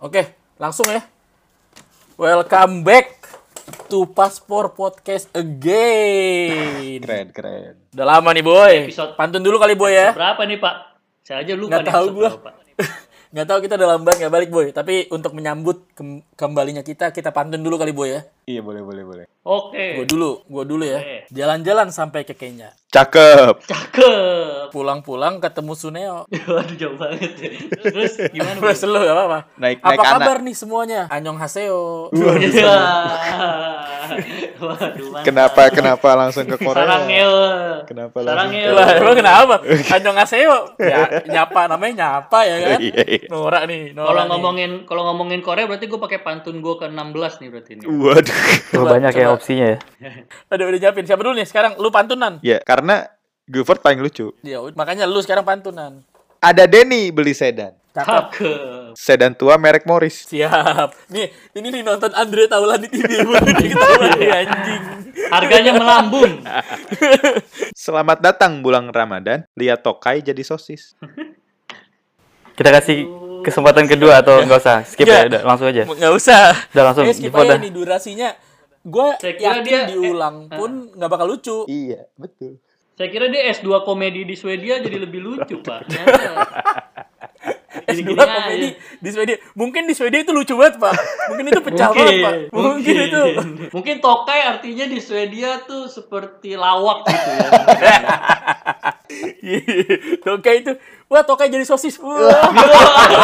Oke, langsung ya. Welcome back to Paspor Podcast again. Keren, keren. Udah lama nih boy. Episode- Pantun dulu kali boy ya. Berapa nih Pak? Saya aja lupa Nggak nih tahu episode gua. berapa. Nggak tahu kita udah lambat nggak balik boy. Tapi untuk menyambut kem- kembalinya kita, kita pantun dulu kali boy ya. Iya, boleh, boleh, boleh. Oke, Gue dulu, gue dulu ya. Oke. Jalan-jalan sampai ke Kenya. Cakep. cakep. Pulang-pulang ketemu Suneo. Waduh jauh banget. ya. Terus gimana? Bu? Terus lu nggak apa-apa. Naik- apa naik anak. kabar nih semuanya? Anyong Haseo. Iya. Waduh. mantap. Kenapa kenapa langsung ke Korea? Sarangel. Kenapa Sarangel. Lah, Iya. emang kenapa? Anyong Haseo. Ya, nyapa namanya nyapa ya kan? Iya, iya. Norak nih, norak Kalau nih. ngomongin kalau ngomongin Korea berarti gue pakai pantun gue ke-16 nih berarti ini. Waduh. Coba, banyak ya opsinya ya. Aduh udah nyiapin. Siapa dulu nih sekarang? Lu pantunan. Ya, karena Gifford paling lucu. Ya, ud- makanya lu sekarang pantunan. Ada Denny beli sedan. Cakep. Cakep. Sedan tua merek Morris. Siap. Nih, ini nih nonton Andre Taulan di TV mulu nih ketawa Iya. nih, anjing. Harganya melambung. Selamat datang bulan Ramadan. Lihat tokai jadi sosis. Kita kasih kesempatan kedua atau nggak usah skip Nggak. ya, udah langsung aja. Enggak usah. Udah langsung, Eh, skip Jipo aja dah. nih durasinya. Gue Saya kira yakin dia- eh, diulang pun nggak bakal lucu. Iya, betul. Saya kira dia S2 komedi di Swedia jadi lebih lucu, Pak. Ternyata. S2 Gini-gini aja. Eh, komedi di Swedia. Mungkin di Swedia itu lucu banget, Pak. Mungkin itu pecah banget, Pak. Mungkin, itu. Mungkin tokai artinya di Swedia tuh seperti lawak gitu ya. Tokai itu. Wah, Tokai jadi sosis. Wah.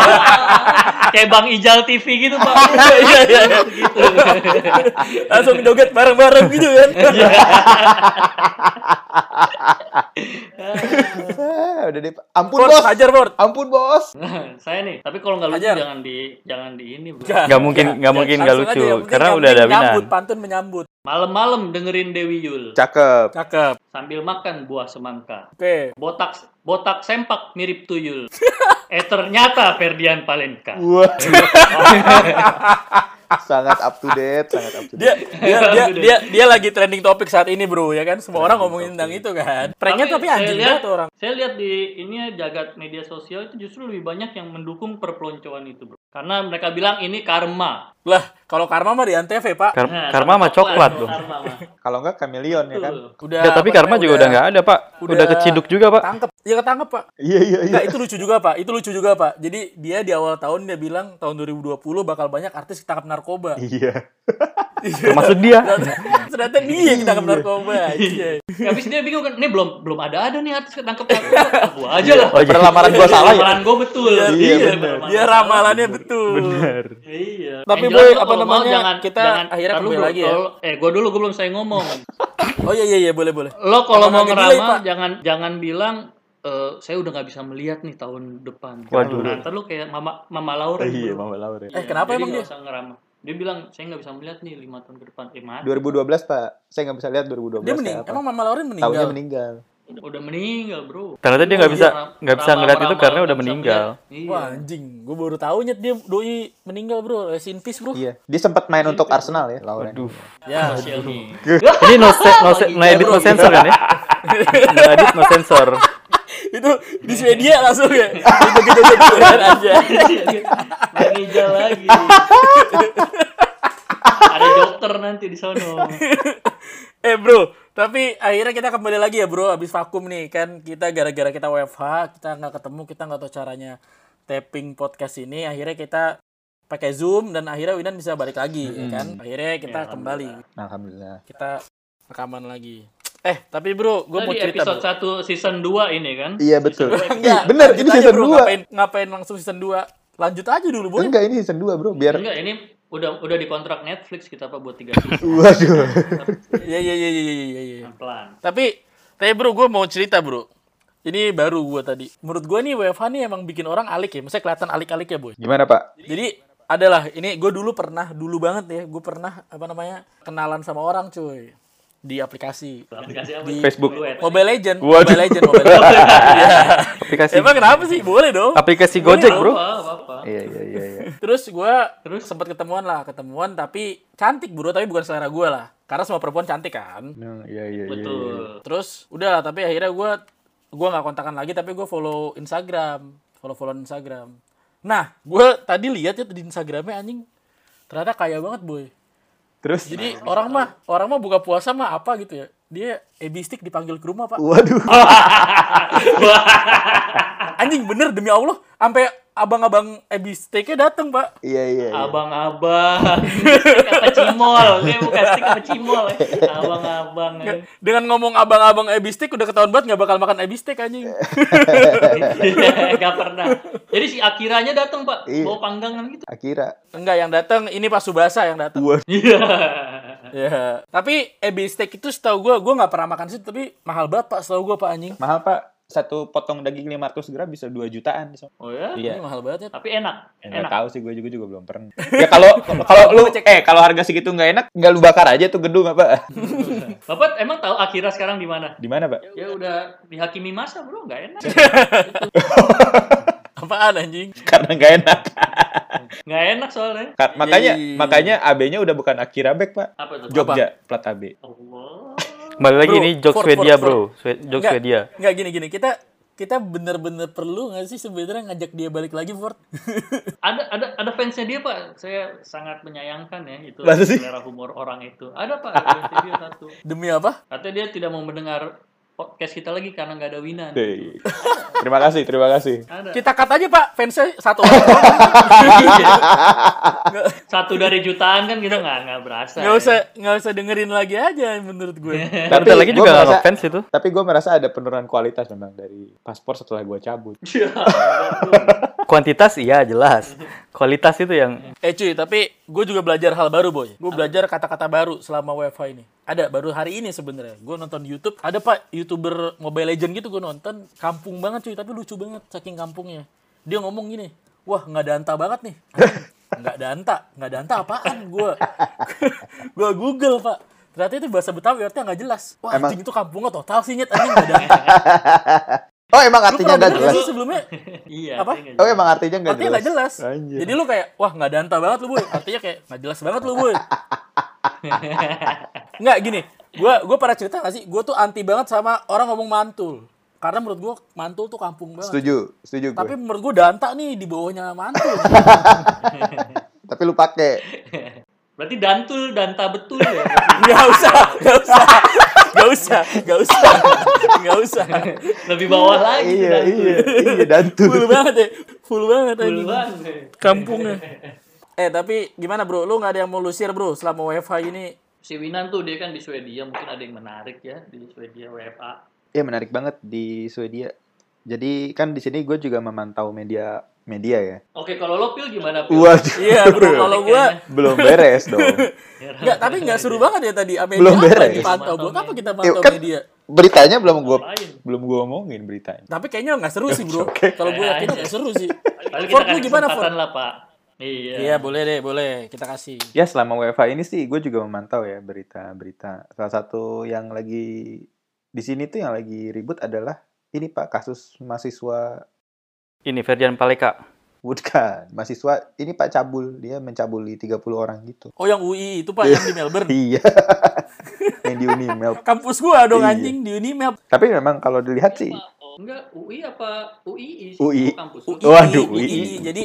Kayak Bang Ijal TV gitu, Pak. Iya, iya, iya. gitu. Langsung joget bareng-bareng gitu kan. Ah, udah deh. Ampun, Port, Bos. hajar, Port. Ampun, Bos. Nah, Saya nih, tapi kalau nggak lucu Ajar. jangan di jangan di ini, Bro. Nggak mungkin, nggak mungkin nggak Iya. Langsung lucu aja, yang penting- karena yang udah ada penting Winan. Menyambut, pantun menyambut. Malam-malam dengerin Dewi Yul Cakep. Cakep. sambil makan buah semangka. Oke. Botak botak sempak mirip tuyul. eh ternyata Ferdian Palenka. Wah. sangat up to date, sangat up to date. Dia dia dia dia dia lagi trending topik saat ini, Bro, ya kan? Semua orang ngomongin tentang itu kan. Pranknya tapi saya anjing lihat- banget orang. Saya lihat di ini ya, jagat media sosial itu justru lebih banyak yang mendukung perpeloncoan itu, Bro. Karena mereka bilang ini karma. Lah, kalau Karma mah di Antv, Pak. Kar- Nah, karma sama coklat dong. Karma Kan? mah. Kalau enggak kameleon ya kan? Tuh. Udah Ya, tapi apa karma namanya, juga udah nggak ada pak. Udah, udah keciduk juga pak. Tangkep. Ya ketangkep, Pak. Iya, iya, iya. Enggak, itu lucu juga, Pak. Itu lucu juga, Pak. Jadi dia di awal tahun dia bilang tahun 2020 bakal banyak artis ketangkap narkoba. Iya. Termasuk dia. Iya. Ternyata dia yang ketangkep narkoba. Iya. Habis dia bingung kan, ini belum belum ada ada nih artis ketangkep narkoba. Ah, gua aja lah. Oh, iya. Perlamaran gua salah ya. Ramalan gua betul. Iya, iya. perlamaran Dia gua ramalannya betul. salah. Iya. Tapi, Yang Boy, jelas lu apa kalau mau namanya, kita akhirnya ntar lu kembali belum- lagi ya. kalau- Eh, gua dulu gua belum saya ngomong. Oh iya iya iya boleh boleh. Lo kalau Jangan mau agak delay, ngeramal Pak. jangan jangan bilang eh, saya udah nggak bisa melihat nih tahun depan. Waduh. Nah, ntar lu kayak mama mama Laura. Iya, bro. Mama Laura. Eh, kenapa jadi emang nggak dia? usah ngeramal. Dia bilang saya nggak bisa melihat nih lima tahun ke depan. Eh mati. 2012 pak saya nggak bisa lihat 2012 Dia mening. kayak apa. Emang Mama Lauren tahunnya meninggal. meninggal Udah meninggal bro. Oh, Ternyata dia nggak bisa nggak bisa Ramal- ngeliat itu ramal, karena udah nggak bisa meninggal. melihat. Iya. Wah anjing, gue baru tahu nyet dia doi meninggal bro, rest in peace bro. iya dia sempat main untuk Arsenal ya Lauren Aduh. Ya, Sial nih. Ini no se- no, se- no edit no sensor kan ya? No edit no sensor. itu di Swedia langsung ya. Itu gitu gitu kan aja. Iya, Bang Ijal lagi. Ada dokter nanti di sono. Eh bro, tapi akhirnya kita kembali lagi ya bro, abis vakum nih kan kita gara-gara kita WFH, kita nggak ketemu, kita nggak tahu caranya tapping podcast ini, akhirnya kita pakai Zoom dan akhirnya Winan bisa balik lagi ya kan. Akhirnya kita Iya, kembali, alhamdulillah kita rekaman lagi. Eh, tapi bro, gue mau Tadi cerita episode bro. 1 season 2 ini kan. iya betul Enggak, Ih, bener lanjut ini aja, season bro. 2 Ngapain, ngapain langsung season 2? Lanjut aja dulu, Boy. enggak ini season 2 bro biar Enggak, ini udah udah dikontrak Netflix kita apa buat 3 season waduh Iya, iya, iya, iya, iya, iya, iya. pelan. Tapi, tapi bro, gue mau cerita, bro. Ini baru gue tadi. Menurut gue nih, WFH nih emang bikin orang alik ya. Maksudnya kelihatan alik-alik ya, Boy. gimana pak Jadi, adalah ini gue dulu pernah dulu banget ya gue pernah apa namanya kenalan sama orang cuy di aplikasi Aplikasi apa? Di Facebook. Bluet. Mobile Legend Waduh. Mobile Legend Mobile Legend Iya. Aplikasi emang kenapa sih boleh dong aplikasi Gojek Apa, Oh, bro. apa, apa. iya iya iya iya Terus gue Terus? sempat ketemuan lah, ketemuan tapi cantik bro, tapi bukan selera gue lah. Karena semua perempuan cantik kan. No, iya iya iya, iya Betul. Terus udah lah, tapi akhirnya gue gua nggak kontakan lagi, tapi gue follow Instagram, follow follow Instagram. Nah, gue tadi lihat ya di Instagramnya anjing ternyata kaya banget boy. Terus, Jadi orang mah orang mah buka puasa mah apa gitu ya? Dia ebistik dipanggil ke rumah pak. waduh, Ah, Anjing bener demi Allah, sampai abang-abang ebistiknya dateng pak. iya iya. iya. Abang-abang, Stick apa cimol? Ini bukan stick apa cimol ya. Abang-abang. ya. Dengan ngomong abang-abang ebistik udah ketahuan banget nggak bakal makan ebistik anjing. Gak pernah. Jadi si Akiranya datang pak, Iya. bawa panggangan gitu. Akira, Enggak yang datang ini Pak Subasa yang datang. Wah. Iya. Ya. Tapi ebi steak itu setahu gua gua nggak pernah makan sih tapi mahal banget Pak setahu gua Pak anjing. mahal pak. Satu potong daging 500 gram bisa 2 jutaan. di sana. Oh ya? Ini Iya. mahal banget ya. Tapi enak. Nggak Enak. tahu sih gue juga juga belum pernah. Ya kalau kalau lu eh kalau harga segitu nggak enak, nggak lu bakar aja tuh gedung apa? Bapak emang tahu Akira sekarang di mana? Di mana pak? Ya udah dihakimi masa bro, nggak enak. Apaan anjing? Karena nggak enak. Nggak enak soalnya. Ka- makanya Yeay. makanya AB-nya udah bukan Akira Bek pak. Apa tuh? Jogja plat AB. Allah. Kembali lagi Bro, ini for- jokes for- Swedia, for- Bro. Swe- Jokes Nggak, Swedia. Nggak gini-gini. Kita kita bener-bener perlu nggak sih sebenarnya ngajak dia balik lagi Ford? Ada ada ada fansnya dia pak. Saya sangat menyayangkan ya itu Masa sih? selera humor orang itu. Ada pak. fansnya dia satu. Demi apa? Katanya dia tidak mau mendengar podcast kita lagi karena nggak ada winan. Hei. Terima kasih, terima kasih. Ada. Kita kata aja Pak fansnya satu orang. Nggak- Satu dari jutaan kan kita nggak nggak berasa. Nggak ya. usah nggak usah dengerin lagi aja menurut gue. Tapi lagi gua juga nggak merasa- ngefans itu. Tapi gue merasa ada penurunan kualitas memang dari paspor setelah gue cabut. Iya. Kuantitas iya jelas. Kualitas itu yang Eh cuy, tapi gue juga belajar hal baru boy. Gue belajar kata-kata baru selama WFH ini. Ada baru hari ini sebenarnya. Gue nonton YouTube. Ada pak youtuber Mobile Legend gitu gue nonton. Kampung banget cuy, tapi lucu banget saking kampungnya. Dia ngomong gini, wah nggak danta banget nih. Anjing, Nggak danta, nggak danta apaan gue? gue Google pak. Ternyata itu bahasa Betawi artinya nggak jelas. Wah Emang- anjing itu kampungnya total sih nyet anjing nggak danta. Oh emang Lu pernah artinya nggak denger nggak jelas. sih sebelumnya? Iya. Apa? saya nggak Oh emang artinya nggak Artinya jelas. nggak jelas. Anjir. Jadi lu kayak, wah nggak danta banget lu boy. Artinya kayak nggak jelas banget lu boy. Nggak gini, gue gua pernah cerita gak sih, gue tuh anti banget sama orang ngomong mantul. Karena menurut gue mantul tuh kampung banget. Setuju, setuju gue. Tapi menurut gue danta nih di bawahnya mantul. Tapi lu pakai. Berarti dantul, danta betul ya. gak usah, gak usah, gak usah, gak usah, gak usah. Lebih bawah lagi. iya, dantul. iya, iya, dantul. Full banget ya, full banget Betul anjing. banget. kampungnya. Eh tapi gimana bro, lu nggak ada yang mau lu share bro selama WFH ini? si Winan tuh dia kan di Swedia mungkin ada yang menarik ya di Swedia WFA Iya menarik banget di Swedia. Jadi kan di sini gue juga memantau media media ya. oke kalau lo pil gimana pil Waduh. Iya bro, kalau gue belum beres dong. Enggak, tapi enggak seru banget ya tadi Amelia Belum apa beres. dipantau. Buat apa kita Eh, pantau kan media? beritanya belum gue Lain. belum gue omongin beritanya. Tapi kayaknya enggak seru sih, Bro. Kalau gue yakin enggak seru sih. Paling kita Ford lu kasih gimana, kesempatan Ford? lah pak iya Iya, boleh deh, boleh. Kita kasih. Ya selama WFH ini sih gue juga memantau ya berita-berita. Salah satu yang lagi di sini tuh yang lagi ribut adalah ini pak kasus mahasiswa ini Ferdian Paleka. Bukan, mahasiswa ini Pak Cabul, dia mencabuli 30 orang gitu. Oh, yang UI itu Pak yang di Melbourne. Iya. yang di Unimel. Kampus gua dong Iya. anjing di Unimel. Tapi memang kalau dilihat sih, Oh, enggak UI apa UII sih UI. Oh, kampus UI. Waduh, UI. Jadi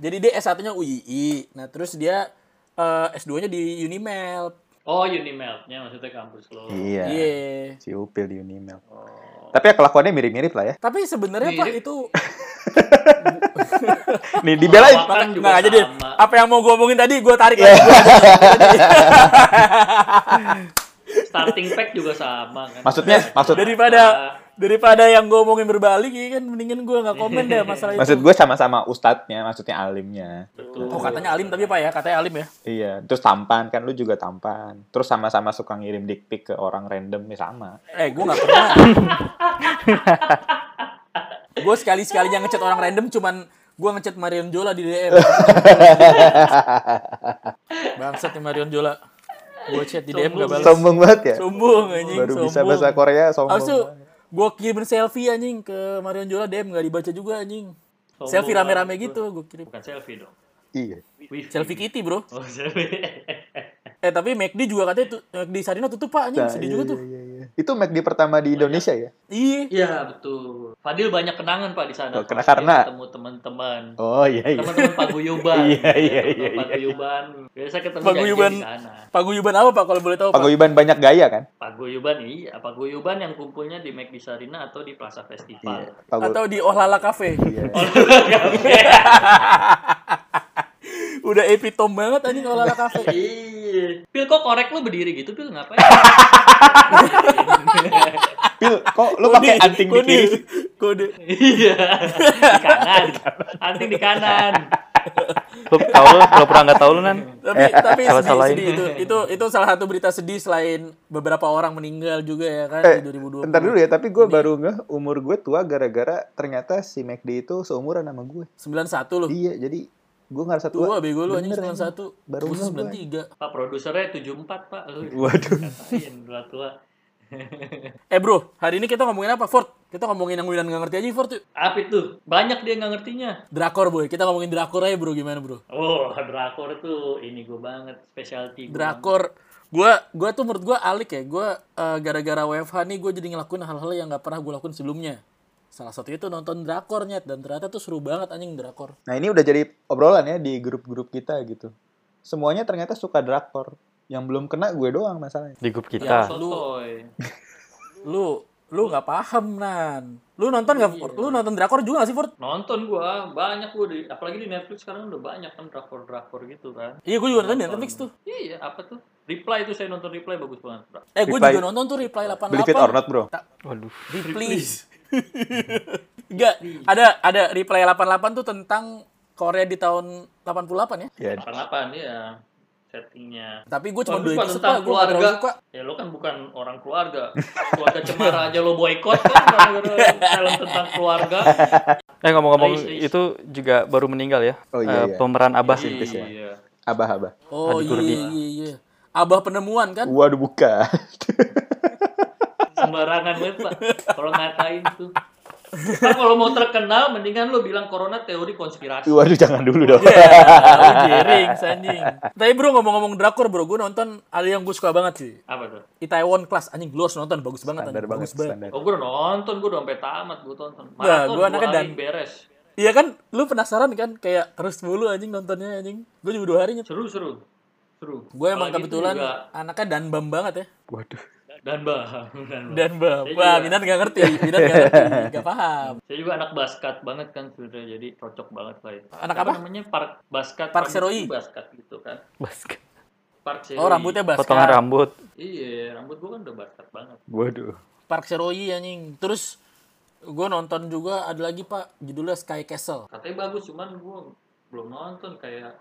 jadi dia S1-nya UII. Nah, terus dia eh, S2-nya di Unimel. oh Unimeltnya maksudnya kampus lo Iya. iya. Si Upil di Unimel. Tapi ya kelakuannya mirip-mirip lah ya. Tapi sebenarnya Pak Mirip. itu Nih dibelain. Apa? Kan juga nggak Nah, jadi sama. apa yang mau gua omongin tadi gua tarik Iya. lagi. starting pack juga sama kan Maksudnya, Eh, maksud daripada daripada yang gue omongin berbalik ya kan mendingan gue nggak komen deh masalah maksud itu gue sama-sama ustadznya, maksudnya alimnya. betul oh katanya alim tapi pak ya katanya alim ya Iya, terus tampan kan lu juga tampan. Terus sama-sama suka ngirim dick pic ke orang random ya sama. eh gue nggak pernah gue sekali sekalinya ngechat orang random cuman gue ngechat Marion Jola di DM bangsat nih Marion Jola gue chat di DM gak balas Sombong banget ya. sombong anjing Baru sombong bisa bahasa Korea sombong. Abis itu gue kirimin selfie anjing ke Marion Jola DM gak dibaca juga anjing Sombong selfie rame-rame banget. gitu gue kirim Oh. bukan selfie dong Iya. Wifi. selfie Kitty bro oh selfie Eh tapi McD juga katanya tu, McD Sarina tutup pak anjing Nah, sedih iya, juga iya, tuh. iya, iya. Itu McD pertama di Indonesia ya? Iya. Iya betul. Fadil banyak kenangan pak di sana. Oh, kena- Fadil karena- ketemu teman-teman. Oh iya iya. Teman-teman paguyuban. Iya, iya, Teman-teman iya, iya. Paguyuban. Biasa ketemu Paguyuban. paguyuban. di sana. Paguyuban apa Pak kalau boleh tahu? Pak? Paguyuban banyak gaya kan? Paguyuban iya, paguyuban yang kumpulnya di McD Sarina atau di Plaza Festival. Pagu- Atau di Ohlala Cafe. iya. Udah epitom banget anjing Ohlala Cafe. Iya. Pil kok korek lu berdiri gitu, Pil ngapain? Pil, kok lu pakai anting di kode, kiri? Kode. Iya. di kanan. Anting di kanan. Lu tau lu, lu pernah nggak tau lu nan? Tapi Eh, tapi salah sedih, salahin. sedih itu. Itu itu salah satu berita sedih selain beberapa orang meninggal juga ya kan Eh, di 2020. Bentar dulu ya, tapi gue baru ngeh umur gue tua gara-gara ternyata si McD itu seumuran sama gue. 91 loh. Iya, jadi gue Oh. ngerasa Tua tua. bego lu anjing Bener, 91. Baru Gua ngeh gua. 93. Pak produsernya 74, Pak. Lu Waduh. katain dua tua. Eh bro, hari ini kita ngomongin apa Ford? Kita ngomongin yang Wilan nggak ngerti aja Ford. yuk. Apa itu? Banyak dia nggak ngertinya. Drakor boy, kita ngomongin drakor aja bro gimana bro? Oh, drakor tuh ini gue banget specialty. gua. Drakor, gua gua tuh menurut gua alik ya, gua eh, gara-gara WFH nih gua jadi ngelakuin hal-hal yang nggak pernah gua lakuin sebelumnya. Salah satunya tuh nonton drakor nyet dan ternyata tuh seru banget anjing drakor. Nah ini udah jadi obrolan ya di grup-grup kita gitu. Semuanya ternyata suka drakor. Yang belum kena gue doang masalahnya. Di grup Ya, kita. lu Sotoy. lu lu nggak paham nan. Lu nonton nggak? Iya. Ford? Lu nonton drakor juga gak sih Ford? Nonton gua, banyak gua di apalagi di Netflix sekarang udah banyak kan drakor-drakor gitu kan. Iya gua juga nonton di Netflix tuh. Iya, apa tuh? Reply itu saya nonton Reply bagus banget. Bro. Eh gua Reply- juga nonton tuh Reply 88. Believe it or not bro. Waduh. Please. Enggak, ada ada Reply 88 tuh tentang Korea di tahun 88 ya. Ya, 88 ya settingnya. Tapi gue cuma Bagus, dua Pak, episode Oh, tentang lah, gue gak terlalu keluarga. suka. Ya lo kan bukan orang keluarga. Keluarga cemara aja lo boykot kan gara-gara film tentang keluarga. Eh ngomong-ngomong Ais, ais. itu juga baru meninggal ya. Oh, iya, Eh, iya. Pemeran Abah. Iya. abah-abah. Oh Adik iya iya iya. Abah penemuan kan? Waduh buka. Sembarangan banget, Pak. Kalau ngatain tuh. Pak, kalau mau terkenal mendingan lo bilang corona teori konspirasi. Waduh jangan dulu dong. Iya, Tahu Jering, anjing. Tapi bro ngomong-ngomong drakor bro, gue nonton ada yang gue suka banget sih. Apa tuh? Itaewon Class, anjing lu harus nonton, bagus banget Standar anjing, banget bagus banget. standar. Oh, gue udah nonton, gue udah sampai tamat, gue tonton. Nah, Maraton, Iya. gua gua anaknya anaknya dan- beres. Iya kan, lu penasaran kan, kayak terus mulu anjing nontonnya anjing. Gue juga dua harinya. Seru, seru. Seru. Gue emang Apalagi itu kebetulan juga anaknya danbam banget ya. Waduh. Dan bah, dan bah. Danbam, Saya wah Iya juga. Minan gak ngerti, Minan gak ngerti, gak paham. Saya juga anak basket banget kan sebenarnya, jadi cocok banget lah itu. Anak apa? namanya park basket. Park rambutnya Seroi. Basket gitu kan. Basket. Park Seroi. Oh rambutnya Potongan basket, rambut. Iya, rambut gue kan udah basket banget. Waduh. Park Seroyi anjing. Terus gue nonton juga ada lagi pak, judulnya Sky Castle. Katanya bagus, cuman gue belum nonton kayak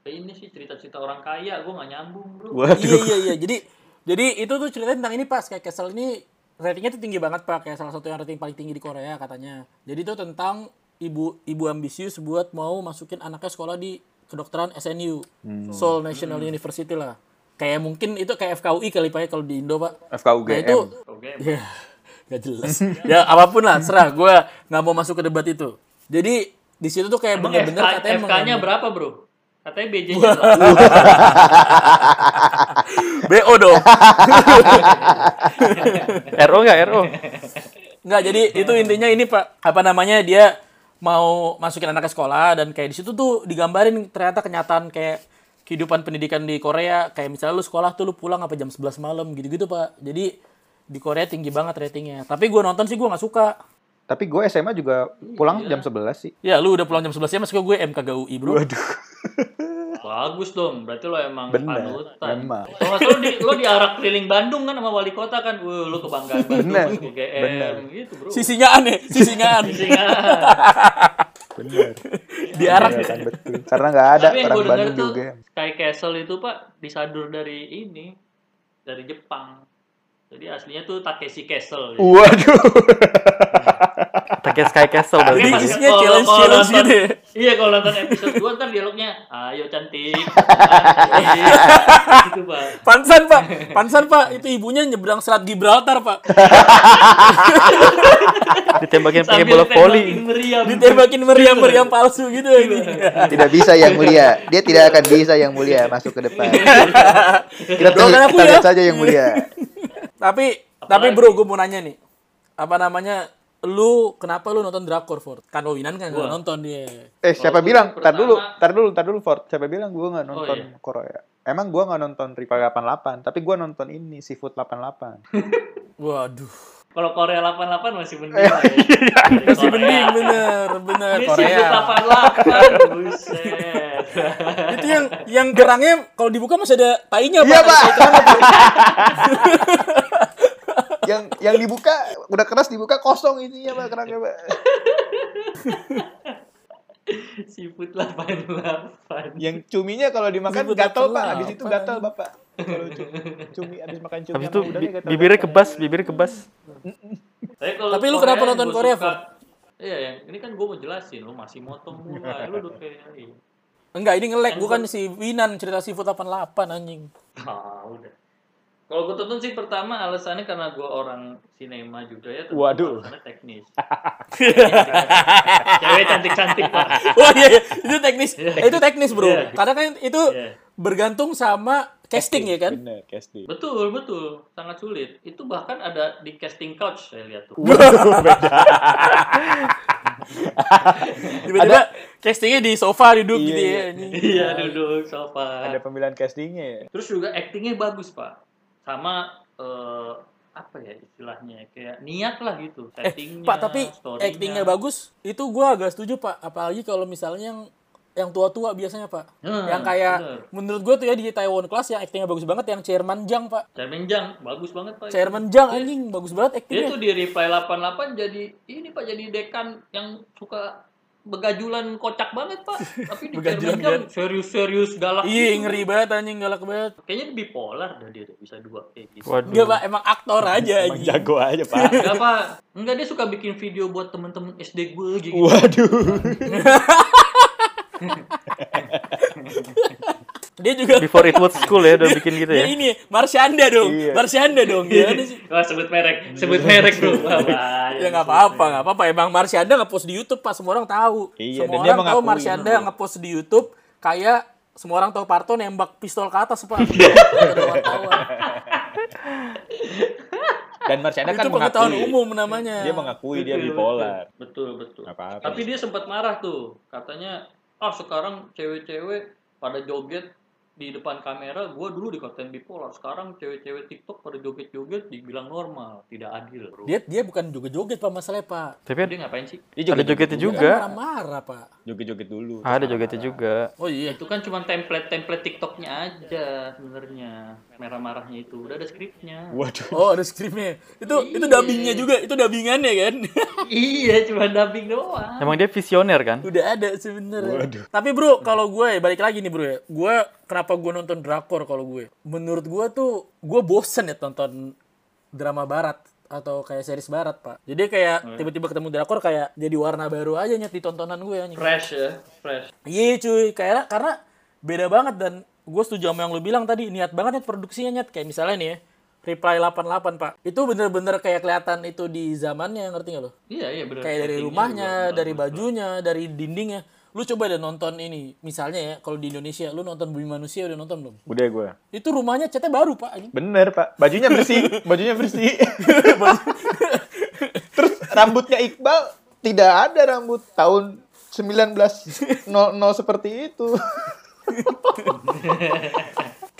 kayak ini sih cerita-cerita orang kaya, gue nggak nyambung bro. Iya Waduh. iya iya. Jadi jadi itu tuh ceritanya tentang ini pas kayak Castle ini ratingnya tuh tinggi banget pak kayak salah satu yang rating paling tinggi di Korea katanya. Jadi itu tentang ibu ibu ambisius buat mau masukin anaknya sekolah di kedokteran SNU Seoul National University lah. Kayak mungkin itu kayak FKUI kali pak ya kalau di Indo pak. Nah FKUGM. itu Oke, ya nggak jelas. ya apapun lah serah. Gue nggak mau masuk ke debat itu. Jadi di situ tuh kayak emang bener-bener FK, katanya FK-nya mengambil- berapa bro? Katanya BJ-nya berapa? BO dong. RO nggak RO? Nggak, jadi Iya. itu intinya ini Pak, apa namanya dia mau masukin anak ke sekolah dan kayak di situ tuh digambarin ternyata kenyataan kayak kehidupan pendidikan di Korea kayak misalnya lu sekolah tuh lu pulang apa jam 11 malam gitu-gitu Pak. Jadi di Korea tinggi banget ratingnya. Tapi gua nonton sih gua nggak suka. Tapi gue SMA juga pulang jam 11 sih. Ya lu udah pulang jam 11 ya masuk ke gue MKGUI bro. Waduh. Bagus dong, berarti lo emang Bener, panutan. memang. Kalau nggak salah lo di, lo diarak keliling Bandung kan sama wali kota kan, Wuh, lo kebanggaan Bandung Bener, masuk UGM bener. gitu bro. kan. Sisingaan ya, sisingaan. Singa. Bener. Diarak Iya, Iya kan, betul. Karena nggak ada Tapi yang orang gue dengar Bandung tuh juga. Sky Castle itu pak disadur dari ini, dari Jepang. Jadi aslinya tuh Takeshi Castle. Ya. Waduh. Pakai Sky Castle Tapi berarti. pas- Isinya kalau- challenge- kalau challenge nonton- gitu ya. Iya kalau nonton episode 2 ntar dialognya, ayo cantik, cantik. gitu pak. Pansan Pak, pansan Pak itu ibunya nyebrang selat Gibraltar Pak. Ditembakin pakai Sambil bola tembakin voli. meriam. Ditembakin meriam-meriam palsu gitu Iya. anjing. Tidak bisa yang mulia. Dia tidak akan bisa yang mulia masuk ke depan. Kita, Doakan aku kita ya. lihat saja yang mulia. Tapi Apa Tapi lagi? bro, gue mau nanya nih. Apa namanya? Lu kenapa lu nonton drakor Ford? Kan Winan kan nggak nonton dia. Eh siapa Kalau bilang? gua Tar dulu, pertama- tar dulu, tar dulu Ford. Siapa bilang gue nggak nonton iya. Korea? Emang gue nggak nonton Rival 88, tapi gue nonton ini Seafood 88. Waduh. Kalau Korea 88 masih mending. lah ya. Dari Masih Korea. bening bener, bener Ini sih Eh, Korea. 88. Buset. Itu yang yang gerangnya kalau dibuka masih ada tainya Iya Pak. pak. yang yang dibuka udah keras dibuka kosong ini ya pak kerangnya pak. Seafood Iya. 88. Yang cuminya kalau dimakan Seafood gatel pak, 88. habis itu gatel bapak. Kalau cu- cumi habis makan cumi. Habis sama itu udangnya bi- gatel. bibirnya kebas, bibirnya kebas. Tapi, kalau Tapi lu kenapa yang nonton gua Korea, suka- Ford? Iya, yang ini kan gue mau jelasin, lu masih motong mulai, lu udah kayak ini. Enggak, ini nge-lag. Bukan si Winan cerita seafood 88 anjing. Ah, udah. Kalau gue tonton sih pertama alasannya karena gue orang sinema juga ya. tentu Waduh. Alasannya teknis. Cewek cantik-cantik pak. Wah iya, iya. itu teknis. Eh, itu teknis, Bro. Iya. Karena kan itu Iya. bergantung sama casting ya kan? Bener casting. Betul, betul. Sangat sulit. Itu bahkan ada di casting couch saya lihat tuh. Tiba-tiba castingnya di sofa duduk Iya, gitu ya. iya. anjing. Iya, duduk sofa. Ada pemilihan castingnya ya. Terus juga actingnya bagus, Pak. Sama eh, apa ya istilahnya? Kayak niat lah gitu. Eh, Settingnya, Pak, tapi story-nya. actingnya bagus. Itu gua agak setuju, Pak. Apalagi kalau misalnya yang yang tua-tua biasanya, Pak. Hmm, yang kayak bener. menurut gua tuh ya di Taiwan Class yang actingnya bagus banget yang Chairman Jang, Pak. Chairman Jang, bagus banget, Pak. Chairman Jang anjing bagus banget Iya. Dia actingnya. tuh di Reply 88 jadi ini Pak jadi dekan yang suka begajulan kocak banget, Pak. Tapi di Begajulan Chairman Jang serius-serius galak. Iya, gitu. ngeri banget anjing galak banget. Kayaknya dia bipolar dah dia, dia bisa dua kayak gitu. Enggak, Waduh. Pak, emang aktor aja Emang anjing. jago aja pak. Enggak, Pak. Enggak, dia suka bikin video buat temen-temen SD gue gitu. Waduh. Dia juga Before it was cool ya, udah bikin gitu dia ya. ini Marsyanda dong. Iya. Marsyanda dong. Gimana sih? Wah, sebut merek, sebut merek bro. Iya. Iya, Ya nggak apa-apa, nggak apa-apa. Emang Marsyanda ngepost di YouTube pas semua orang tahu. Iya, semua dan dia orang tahu mengakui. Marsyanda ngepost di YouTube kayak semua orang tahu Parto nembak pistol ke atas pak. Dan Marciana itu kan pengetahuan mengakui. umum namanya. Dia mengakui dia bipolar. Betul, betul. Nggak apa-apa. Tapi dia sempat marah tuh. Katanya, ah sekarang cewek-cewek pada joget di depan kamera, gua dulu di konten bipolar. Sekarang cewek-cewek TikTok pada joget-joget dibilang normal, tidak adil bro. Dia dia bukan joget-joget pak masalahnya pak. Tapi Dia ngapain sih? Dia ada jogetnya juga. Kan marah-marah pak. Joget-joget dulu. Ada jogetnya juga. Oh iya. Itu kan cuma template-template TikToknya aja sebenarnya. Merah-marahnya itu udah ada skripnya. Waduh. Oh ada skripnya. Itu itu Iya. dubbingnya juga. Itu dubbingannya kan. iya, cuma dubbing doang. Emang dia visioner kan? Udah ada sebenernya. Tapi bro, kalau gue balik lagi nih bro ya. Gue kenapa gue nonton drakor kalau gue? Menurut gue tuh gue bosen ya nonton drama barat atau kayak series barat pak. Jadi kayak tiba-tiba ketemu drakor kayak jadi warna baru aja nyet di tontonan gue anjing. Fresh ya, fresh. Iya cuy, kayak karena beda banget dan gue setuju sama yang lu bilang tadi niat banget nih produksinya nyet kayak misalnya nih ya Reply 88 pak itu bener-bener kayak kelihatan itu di zamannya ngerti gak lo? Iya, iya benar. kayak dari rumahnya, dari bajunya, dari dindingnya. Lu coba deh nonton ini, misalnya ya, kalau di Indonesia, lu nonton Bumi Manusia udah nonton belum? Udah gue. Itu rumahnya catnya baru pak. anjing. Bener pak, bajunya bersih, bajunya bersih. Terus rambutnya Iqbal tidak ada rambut tahun 1900 seperti itu.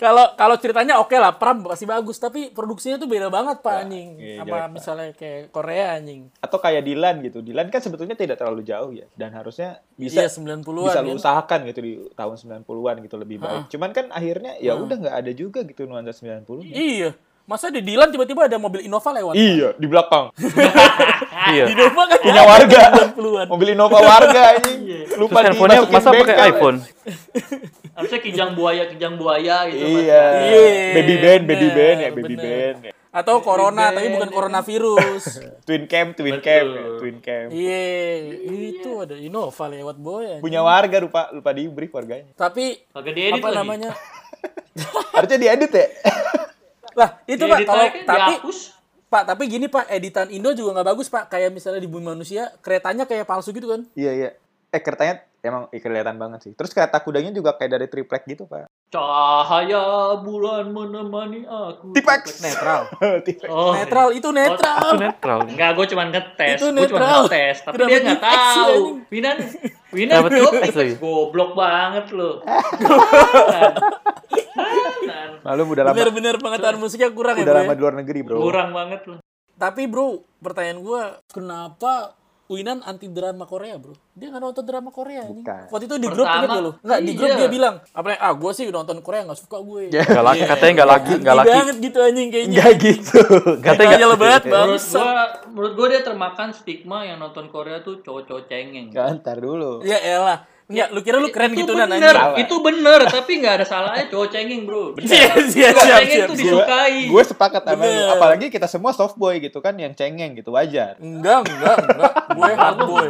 Kalau kalau ceritanya oke lah, Pram pasti bagus, tapi produksinya tuh beda banget pak anjing, iya, sama jelek, Pak. misalnya kayak Korea anjing. Atau kayak Dilan gitu, Dilan kan sebetulnya tidak terlalu jauh ya, dan harusnya bisa Iya 90-an. bisa kan? lu Ah. usahakan gitu di tahun 90-an gitu lebih baik. Cuman kan akhirnya ya udah nggak ada juga gitu nuansa 90 Iya. Masa di Dilan tiba-tiba ada mobil Innova lewat? Iya, di belakang. Iya. Innova kan Punya warga. 90-an. Mobil Innova warga ini. Iya. Terus Lupa handphonenya dimasukin masa pakai bengkel. iPhone? Harusnya kijang buaya, kijang buaya gitu. Mas. Iya. Iya, Baby band, baby bener, band ya, baby bener. band. ya. Atau Corona, tapi bukan coronavirus. Twin cam, twin cam, ya, twin cam. Iya, itu ada Innova lewat boy. anjing. Punya warga lupa lupa di brief warganya. Tapi Kagak diedit apa lagi. namanya? Harusnya diedit ya. lah itu pak Diedit kalau lagi, tapi dihapus. pak tapi gini pak editan Indo juga nggak bagus pak kayak misalnya di Bumi Manusia keretanya kayak palsu gitu kan Iya iya. Eh keretanya emang i- kelihatan banget sih. Terus kata kudanya juga kayak dari triplek gitu, Pak. Cahaya bulan menemani aku. Tipex. netral Triplek. Oh, netral itu netral Itu netral. Enggak, gue cuma ngetes. Itu Gue cuma netral. ngetes, tapi Kenapa dia nggak tipex sih, tahu. anjing? Winan, Winan Kenapa jawab tipex tipex. lagi? Goblok banget lo. Lalu udah lama bener-bener pengetahuan musiknya kurang ya udah bro lama ya? di luar negeri, Bro. Kurang banget lo. tapi bro pertanyaan gue kenapa Winan anti drama Korea bro dia nggak nonton drama Korea anjing. Bukan. waktu itu di grup Pertama, ingat gak lo nggak di grup iya. dia bilang apa ah gue sih nonton Korea nggak suka gue Iya, Gak laki, katanya gak laki, gak Anti laki. banget gitu anjing kayaknya Enggak gitu. Enggak katanya aja lebat Menurut bangsa gua, menurut gua dia termakan stigma yang nonton Korea tuh cowok-cowok cengeng. Kan, ntar dulu. ya elah Nggak, lu kira lu keren Iya, itu gitu bener, Nan anjing itu bener, tapi nggak ada salahnya cowok cengeng bro. Bener. Siap, siap, Cowok siap, cengeng siap, tuh siap. disukai. Gue sepakat sama lu. Bener. Apalagi kita semua soft boy gitu kan yang cengeng gitu wajar. Enggak, enggak, enggak. Gue hard boy.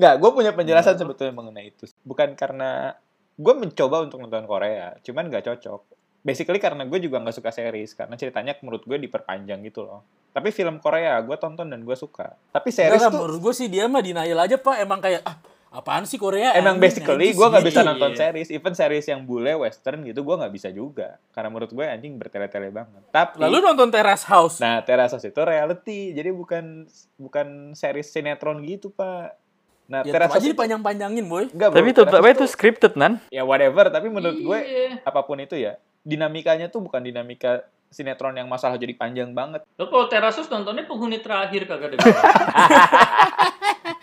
Nggak, gue punya penjelasan Nah. sebetulnya mengenai itu. Bukan karena gue mencoba untuk nonton Korea, cuman nggak cocok. Basically karena gue juga nggak suka series, karena ceritanya menurut gue diperpanjang gitu loh. Tapi film Korea gue tonton dan gue suka. Tapi series Enggak, tuh menurut gue sih dia mah denial aja, Pak. Emang kayak, ah, apaan sih Korea? emang Anjing, basically anjing gue nggak sih. gitu. bisa Iya. nonton series. Even series yang bule, western gitu gue nggak bisa juga. Karena menurut gue anjing bertele-tele banget. Tapi Lalu nonton Teras House. Nah, Terasa itu reality, jadi bukan bukan series sinetron gitu pak. Nah, ya, tetap Terasa aja dipanjang-panjangin, boy. enggak, Tapi Bro. tetep Terasa aja itu scripted, Nan. ya whatever tapi menurut gue Iya. apapun itu ya dinamikanya tuh bukan dinamika sinetron yang masalah jadi panjang banget Lo kalau Terasus nontonnya penghuni terakhir kagak ada.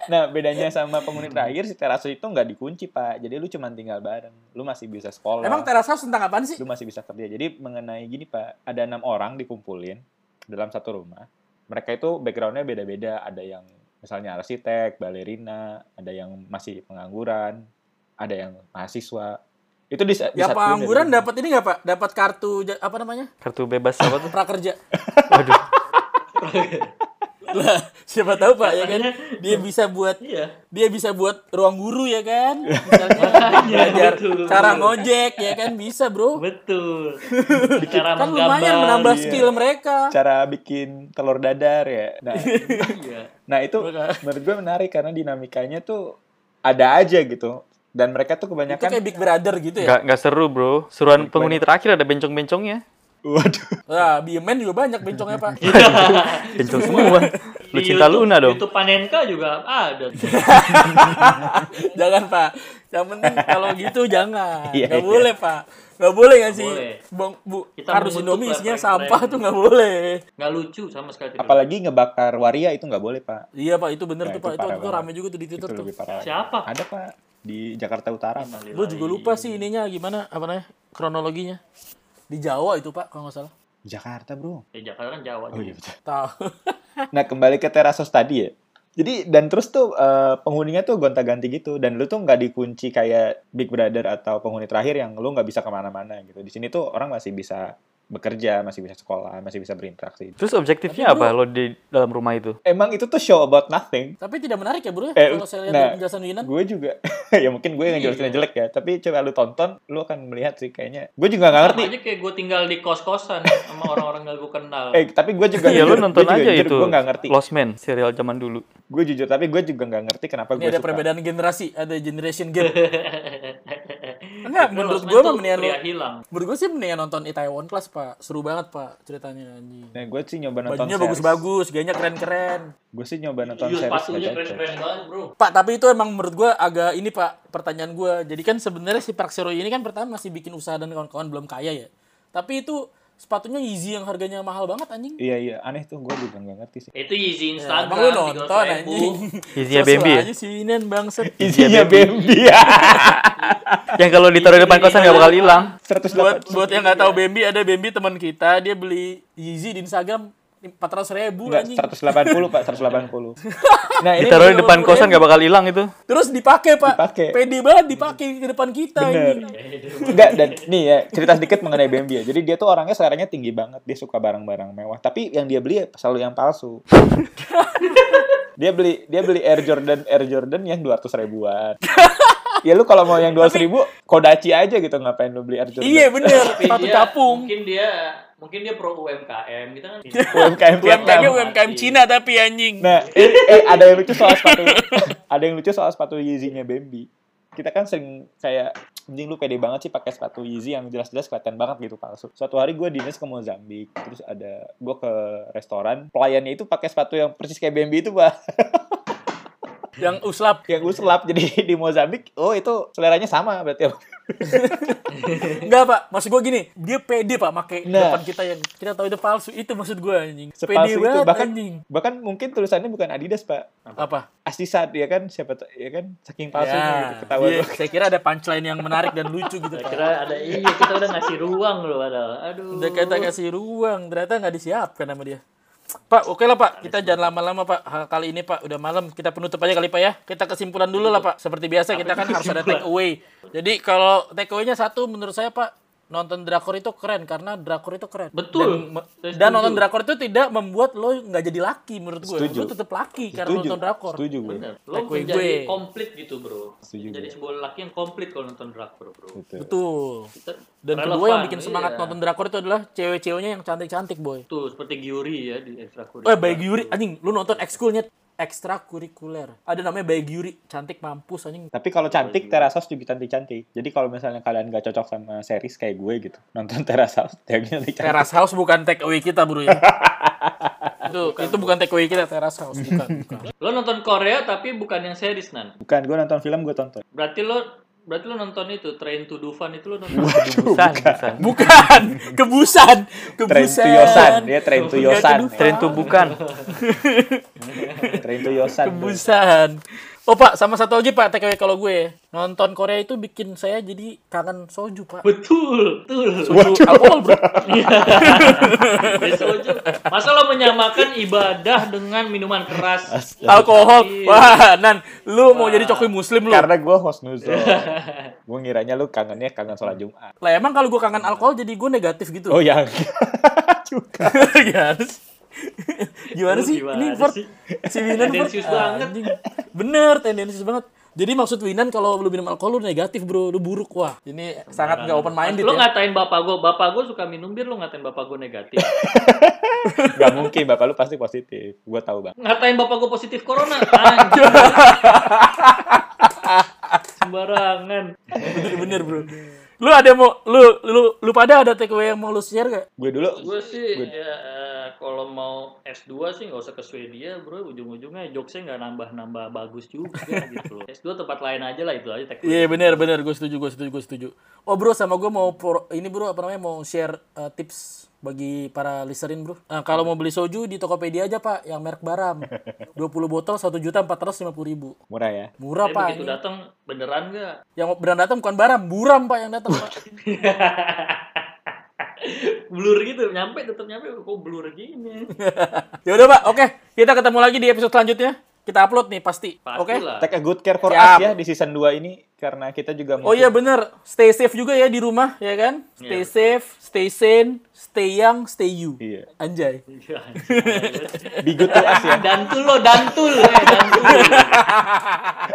nah bedanya sama penghuni terakhir si terasu itu nggak dikunci pak jadi lu cuma tinggal bareng lu masih bisa sekolah Emang Teras House tentang apaan sih? lu masih bisa kerja jadi mengenai gini pak ada enam orang dikumpulin dalam satu rumah mereka itu backgroundnya beda-beda ada yang misalnya arsitek balerina ada yang masih pengangguran ada yang mahasiswa itu di, di Ya satu- pengangguran dapat ini nggak Pak? Dapat kartu ja- apa namanya? Kartu bebas apa tuh? Prakerja. Waduh. Lah, siapa tahu Pak ya kan dia bisa buat Iya. dia bisa buat ruang guru ya kan? Misalnya Makanya, Iya, belajar Iya, betul. cara ngojek ya kan bisa, Bro. Betul. Cara Kan menggambar. lumayan menambah iya. skill mereka. cara bikin telur dadar ya nah Iya. Nah itu Benar. menurut gue menarik karena dinamikanya tuh ada aja gitu. Dan mereka tuh Itu kebanyakan, kayak Big Brother gitu ya. Gak, gak seru, bro. Suruhan penghuni terakhir ada bencong-bencongnya. waduh, Nah, Biemen juga banyak bencongnya, Pak. Iya. Bencong semua. Lu Di cinta YouTube- Luna dong. YouTube Panenka juga ada. jangan, Pak. Yang penting kalau gitu jangan. Iya, Nggak iya. boleh, Pak. Nggak boleh ngasih boleh. bang, bu, Kita harus mengutuk Indomie lah isinya prank-prank. sampah tuh nggak boleh. Nggak lucu sama sekali. tidak. apalagi ngebakar waria itu nggak boleh pak. Iya, Pak. Itu bener Nah, tuh, itu Pak. Itu parah waktu itu banget. rame juga tuh di Itu Twitter tuh. lebih parah. lagi. Siapa? Ada pak di Jakarta Utara. Pak. Gue juga lupa sih ininya gimana, apa namanya, kronologinya. Di Jawa itu, Pak, kalau nggak salah. Jakarta bro. Ya, Jakarta kan Jawa. Oh juga. iya betul. Tahu. Nah kembali ke terasos tadi ya. Jadi dan terus tuh eh, penghuninya tuh gonta-ganti gitu dan lu tuh nggak dikunci kayak Big Brother atau penghuni terakhir yang lu nggak bisa kemana-mana gitu. Di sini tuh orang masih bisa bekerja, masih bisa sekolah, masih bisa berinteraksi. Terus objektifnya apa lo di dalam rumah itu? Emang itu tuh show about nothing. Tapi tidak menarik ya, Bro. ya, Eh, kalau saya lihat nah. dari penjelasan Iya, Winan. gue juga ya mungkin gue yang jelasin jelek ya tapi coba lu tonton lu akan melihat sih kayaknya gue juga nggak ngerti Iya, Sama aja kayak gue tinggal di kos-kosan sama orang-orang gak gue kenal. eh tapi gue juga Iya, lu jujur- nonton gue juga aja jujur, itu. gue nggak ngerti Lost Man, serial zaman dulu. gue jujur tapi gue juga nggak ngerti kenapa Ini gue ada suka perbedaan generasi, ada generation gap. Enggak, Kan menurut Losmen gue tuh mah mendingan pria hilang. Menurut gue sih mendingan nonton Itaewon Class, Pak. Seru banget, Pak, ceritanya anjing. nah gue sih nyoba nonton Bajunya series. bagus-bagus, gayanya keren-keren. gue sih nyoba nonton Iya, series sepatunya nggak cocok. keren-keren banget bro. Pak, tapi itu emang menurut gue agak ini Pak, pertanyaan gue. Jadi kan sebenarnya si Park Sero ini kan pertama masih bikin usaha dan kawan-kawan belum kaya ya. Tapi itu sepatunya Yeezy yang harganya mahal banget anjing. iya iya aneh tuh gue juga nggak ngerti sih Itu Ya, izin Instagram. emang lu nonton 300 ribu. anjing. Yeezy-nya Sesuai Bambi ya? aja sih Nen bangset. Iya, isinya Bambi ya Yang kalau ditaruh di depan kosan gak bakal hilang. 108 buat buat yang nggak tahu ya. Bambi ada Bambi teman kita dia beli Yeezy di Instagram 400 ribu Nggak, anjing. 180 pak 180 nah ini Ditaruh di depan kosan gak bakal hilang itu. Terus dipakai Pak. Dipakai. Pede banget dipakai ke depan kita Bener. anjing. Enggak, dan nih ya, cerita sedikit mengenai Bambi ya. Jadi dia tuh orangnya seleranya tinggi banget, dia suka barang-barang mewah. Tapi yang dia beli ya selalu yang palsu. dia beli dia beli Air Jordan Air Jordan yang 200 ribuan. ya lu kalau mau yang 200 ribu, Kodachi aja gitu ngapain lu beli Air Jordan. Iya bener, sepatu Tapi dia- capung. Mungkin dia mungkin dia pro UMKM gitu kan. UMKM Vietnam. UMKM UMKM Cina tapi anjing. Nah, eh, eh, ada yang lucu soal sepatu. ada yang lucu soal sepatu Yeezy-nya Bambi. kita kan sering kayak anjing lu pede banget sih pakai sepatu Yeezy yang jelas-jelas kelihatan banget gitu palsu. Suatu hari gue dinas ke Mozambik, terus ada gue ke restoran, pelayannya itu pakai sepatu yang persis kayak BMB itu, Pak. Yang uslap. yang gue selap jadi di Mozambik, oh itu seleranya sama berarti. Enggak, Pak. Maksud gue gini, dia pede, Pak, pakai Nah. depan kita yang kita tahu itu palsu. Itu maksud gue anjing. Pede Sepalsu itu banget bahkan anjing. bahkan mungkin tulisannya bukan Adidas, Pak. Apa? Asisat ya kan siapa tuh ya kan saking palsunya gitu Ya, ketahuan. dia- saya kira ada punchline yang menarik dan lucu gitu, Pak. Kira ada iya kita udah ngasih ruang loh ada. Aduh. Udah kita kasih ruang, ternyata nggak disiapkan sama dia. Pak, oke lah Pak, kita jangan lama-lama Pak. Ha, Kali ini Pak, udah malam, kita penutup aja kali Pak ya. Kita kesimpulan dulu lah Pak. Seperti biasa kita kan harus ada take away. Jadi kalau take away-nya satu menurut saya Pak, nonton drakor itu keren karena drakor itu keren. Dan, Betul. me- Saya dan setuju. nonton drakor itu tidak membuat lo nggak jadi laki menurut gue. Setuju. Lo tetap laki karena Setuju. nonton drakor. Setuju gue. Bener. Lo Takwe menjadi gue. komplit gitu, Bro. Setuju Jadi gue. sebuah laki yang komplit kalau nonton drakor, Bro. Betul. Betul. Kita- Dan kedua relevan, yang bikin semangat iya. nonton drakor itu adalah cewek-ceweknya yang cantik-cantik, boy. Tuh, seperti Giuri ya di Eh, ekstrakurikuler. Bayi Yuri, anjing, lu nonton ekskulnya ekstrakurikuler. Ada namanya Bayi Yuri, cantik mampus anjing. Tapi kalau iya. cantik, Terasaus juga cantik-cantik. Jadi kalau misalnya kalian gak cocok sama series kayak gue gitu, nonton ya Terasaus, jangan cantik. Teras House bukan take away kita, Bro ya. itu itu bukan take away kita Teras House, bukan, bukan. Lo nonton Korea tapi bukan yang series nan. Bukan, gue nonton film, gue tonton. Berarti lo berarti lo nonton itu Train to Dufan itu lo nonton. Busan, busan. Bukan, kebusan, Train kebusan. to Yosan, dia Train to Nggak Yosan. Ya, kedusan. Tren tuh bukan. Train to Yosan. Kebusan. Oh Pak, sama satu lagi Pak take away kalau gue. Nonton Korea itu bikin saya jadi kangen soju, Pak. Betul, betul. Soju alkohol, Bro. Soju. Masa lo menyamakan ibadah dengan minuman keras? Astaga. Alkohol. Iya. Wah, Nan, lu mau jadi coki muslim lu. Karena gue host gue ngiranya lu kangennya kangen sholat Jumat. Lah emang kalau gue kangen alkohol jadi gue negatif gitu. Oh yang juga. gimana sih? gimana Lu sih? gimana Ini Ford, sih? si Winan Ford. Tendensius banget. Anjing. Bener, tendensius banget. Jadi maksud Winan kalau lu minum alkohol lu negatif bro, lu buruk wah. Ini sangat nggak open minded lo ya. ngatain bapak gue, bapak gue suka minum bir, lo ngatain bapak gue negatif. Gak mungkin, bapak lu pasti positif. Gue tahu bang. ngatain bapak gue positif corona, anjir. Sembarangan. Bener, bener bro. Lu ada mau lu lu lu pada ada takeaway yang mau lu share gak? Gue dulu Gue sih ya eh, kalau mau S2 sih nggak usah ke Swedia, bro. Ujung-ujungnya jokesnya nggak nambah-nambah bagus juga gitu loh. S2 tempat lain aja lah itu aja. teknik. Iya bener bener gue setuju gue setuju gue setuju. Oh bro sama gue mau pro- ini bro apa namanya mau share eh, tips bagi para listerin bro. Nah, kalau mau beli soju di Tokopedia aja pak yang merek Baram. 20 botol 1 juta 450 ribu. murah ya. Murah Tapi pak. Iya, begitu ini. datang beneran nggak? Yang beneran datang bukan Baram, Buram pak yang datang pak. blur gitu, nyampe tetap nyampe kok blur gini. ya udah pak, oke kita ketemu lagi di episode selanjutnya. Kita upload nih pasti. Oke. Pastilah. Take a good care for Siap. us ya di season 2 ini. Karena kita juga Oh iya bener, stay safe juga ya di rumah ya kan. Stay safe, stay sane, stay young, stay you. Iya. Anjay. Iya, anjir. Be good to us ya. dantul lo, dantul. Eh, dantul.